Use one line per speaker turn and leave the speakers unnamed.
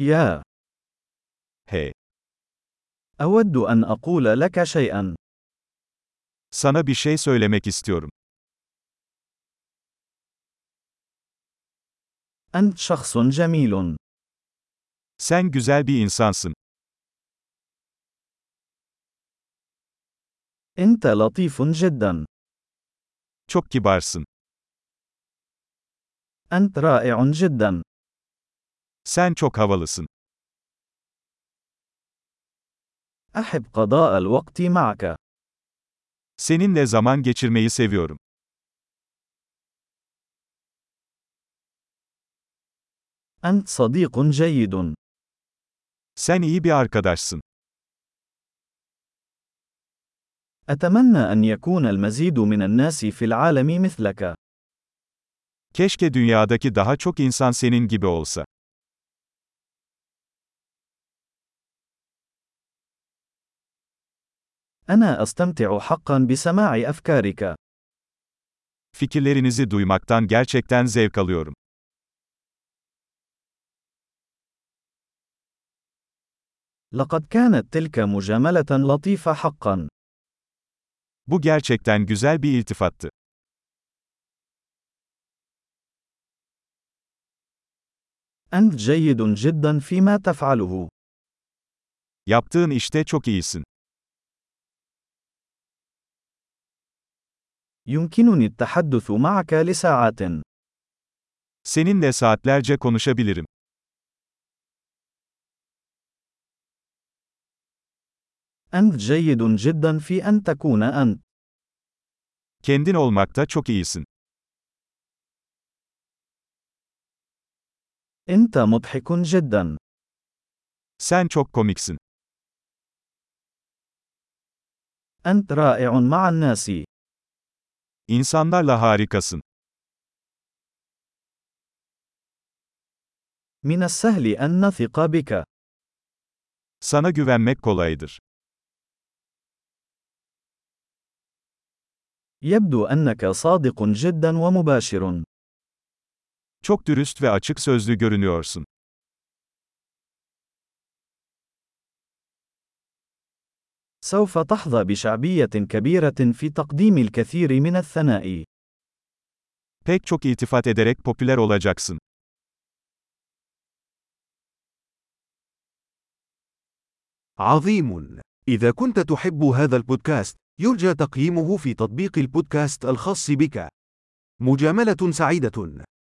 يا،
Hey,
أود أن أقول لك شيئًا.
sana bir şey söylemek istiyorum.
أنت شخص جميل.
Sen güzel bir insansın.
أنت لطيف جدًا.
Çok kibarsın.
أنت رائع جدًا.
Sen çok havalısın.
أحب قضاء الوقت معك.
Seninle zaman geçirmeyi seviyorum.
أنت صديق جيد.
Sen iyi bir arkadaşsın.
أتمنى أن يكون المزيد من الناس في العالم مثلك.
Keşke dünyadaki daha çok insan senin gibi olsa.
أنا أستمتع حقًا بسماع أفكارك.
Fikirlerinizi duymaktan gerçekten zevk alıyorum.
لقد كانت تلك مجاملة لطيفة حقًا.
Bu gerçekten güzel bir iltifattı.
أنت جيد جدًا فيما تفعله.
Yaptığın işte çok iyisin.
يمكنني التحدث معك لساعات.
Seninle saatlerce konuşabilirim.
أنت جيد جدًا في أن تكون أنت.
Kendin olmakta çok iyisin.
أنت مضحك جدًا.
Sen çok komiksin.
أنت رائع مع الناس.
İnsanlarla harikasın.
من السهل أن نثق بك.
Sana güvenmek kolaydır.
يبدو أنك صادق جدًا ومباشر.
Çok dürüst ve açık sözlü görünüyorsun.
سوف تحظى بشعبية كبيرة في تقديم الكثير من الثناء.
Pek çok iltifat ederek popüler olacaksın.
عظيم! إذا كنت تحب هذا البودكاست، يرجى تقييمه في تطبيق البودكاست الخاص بك. مجاملة سعيدة!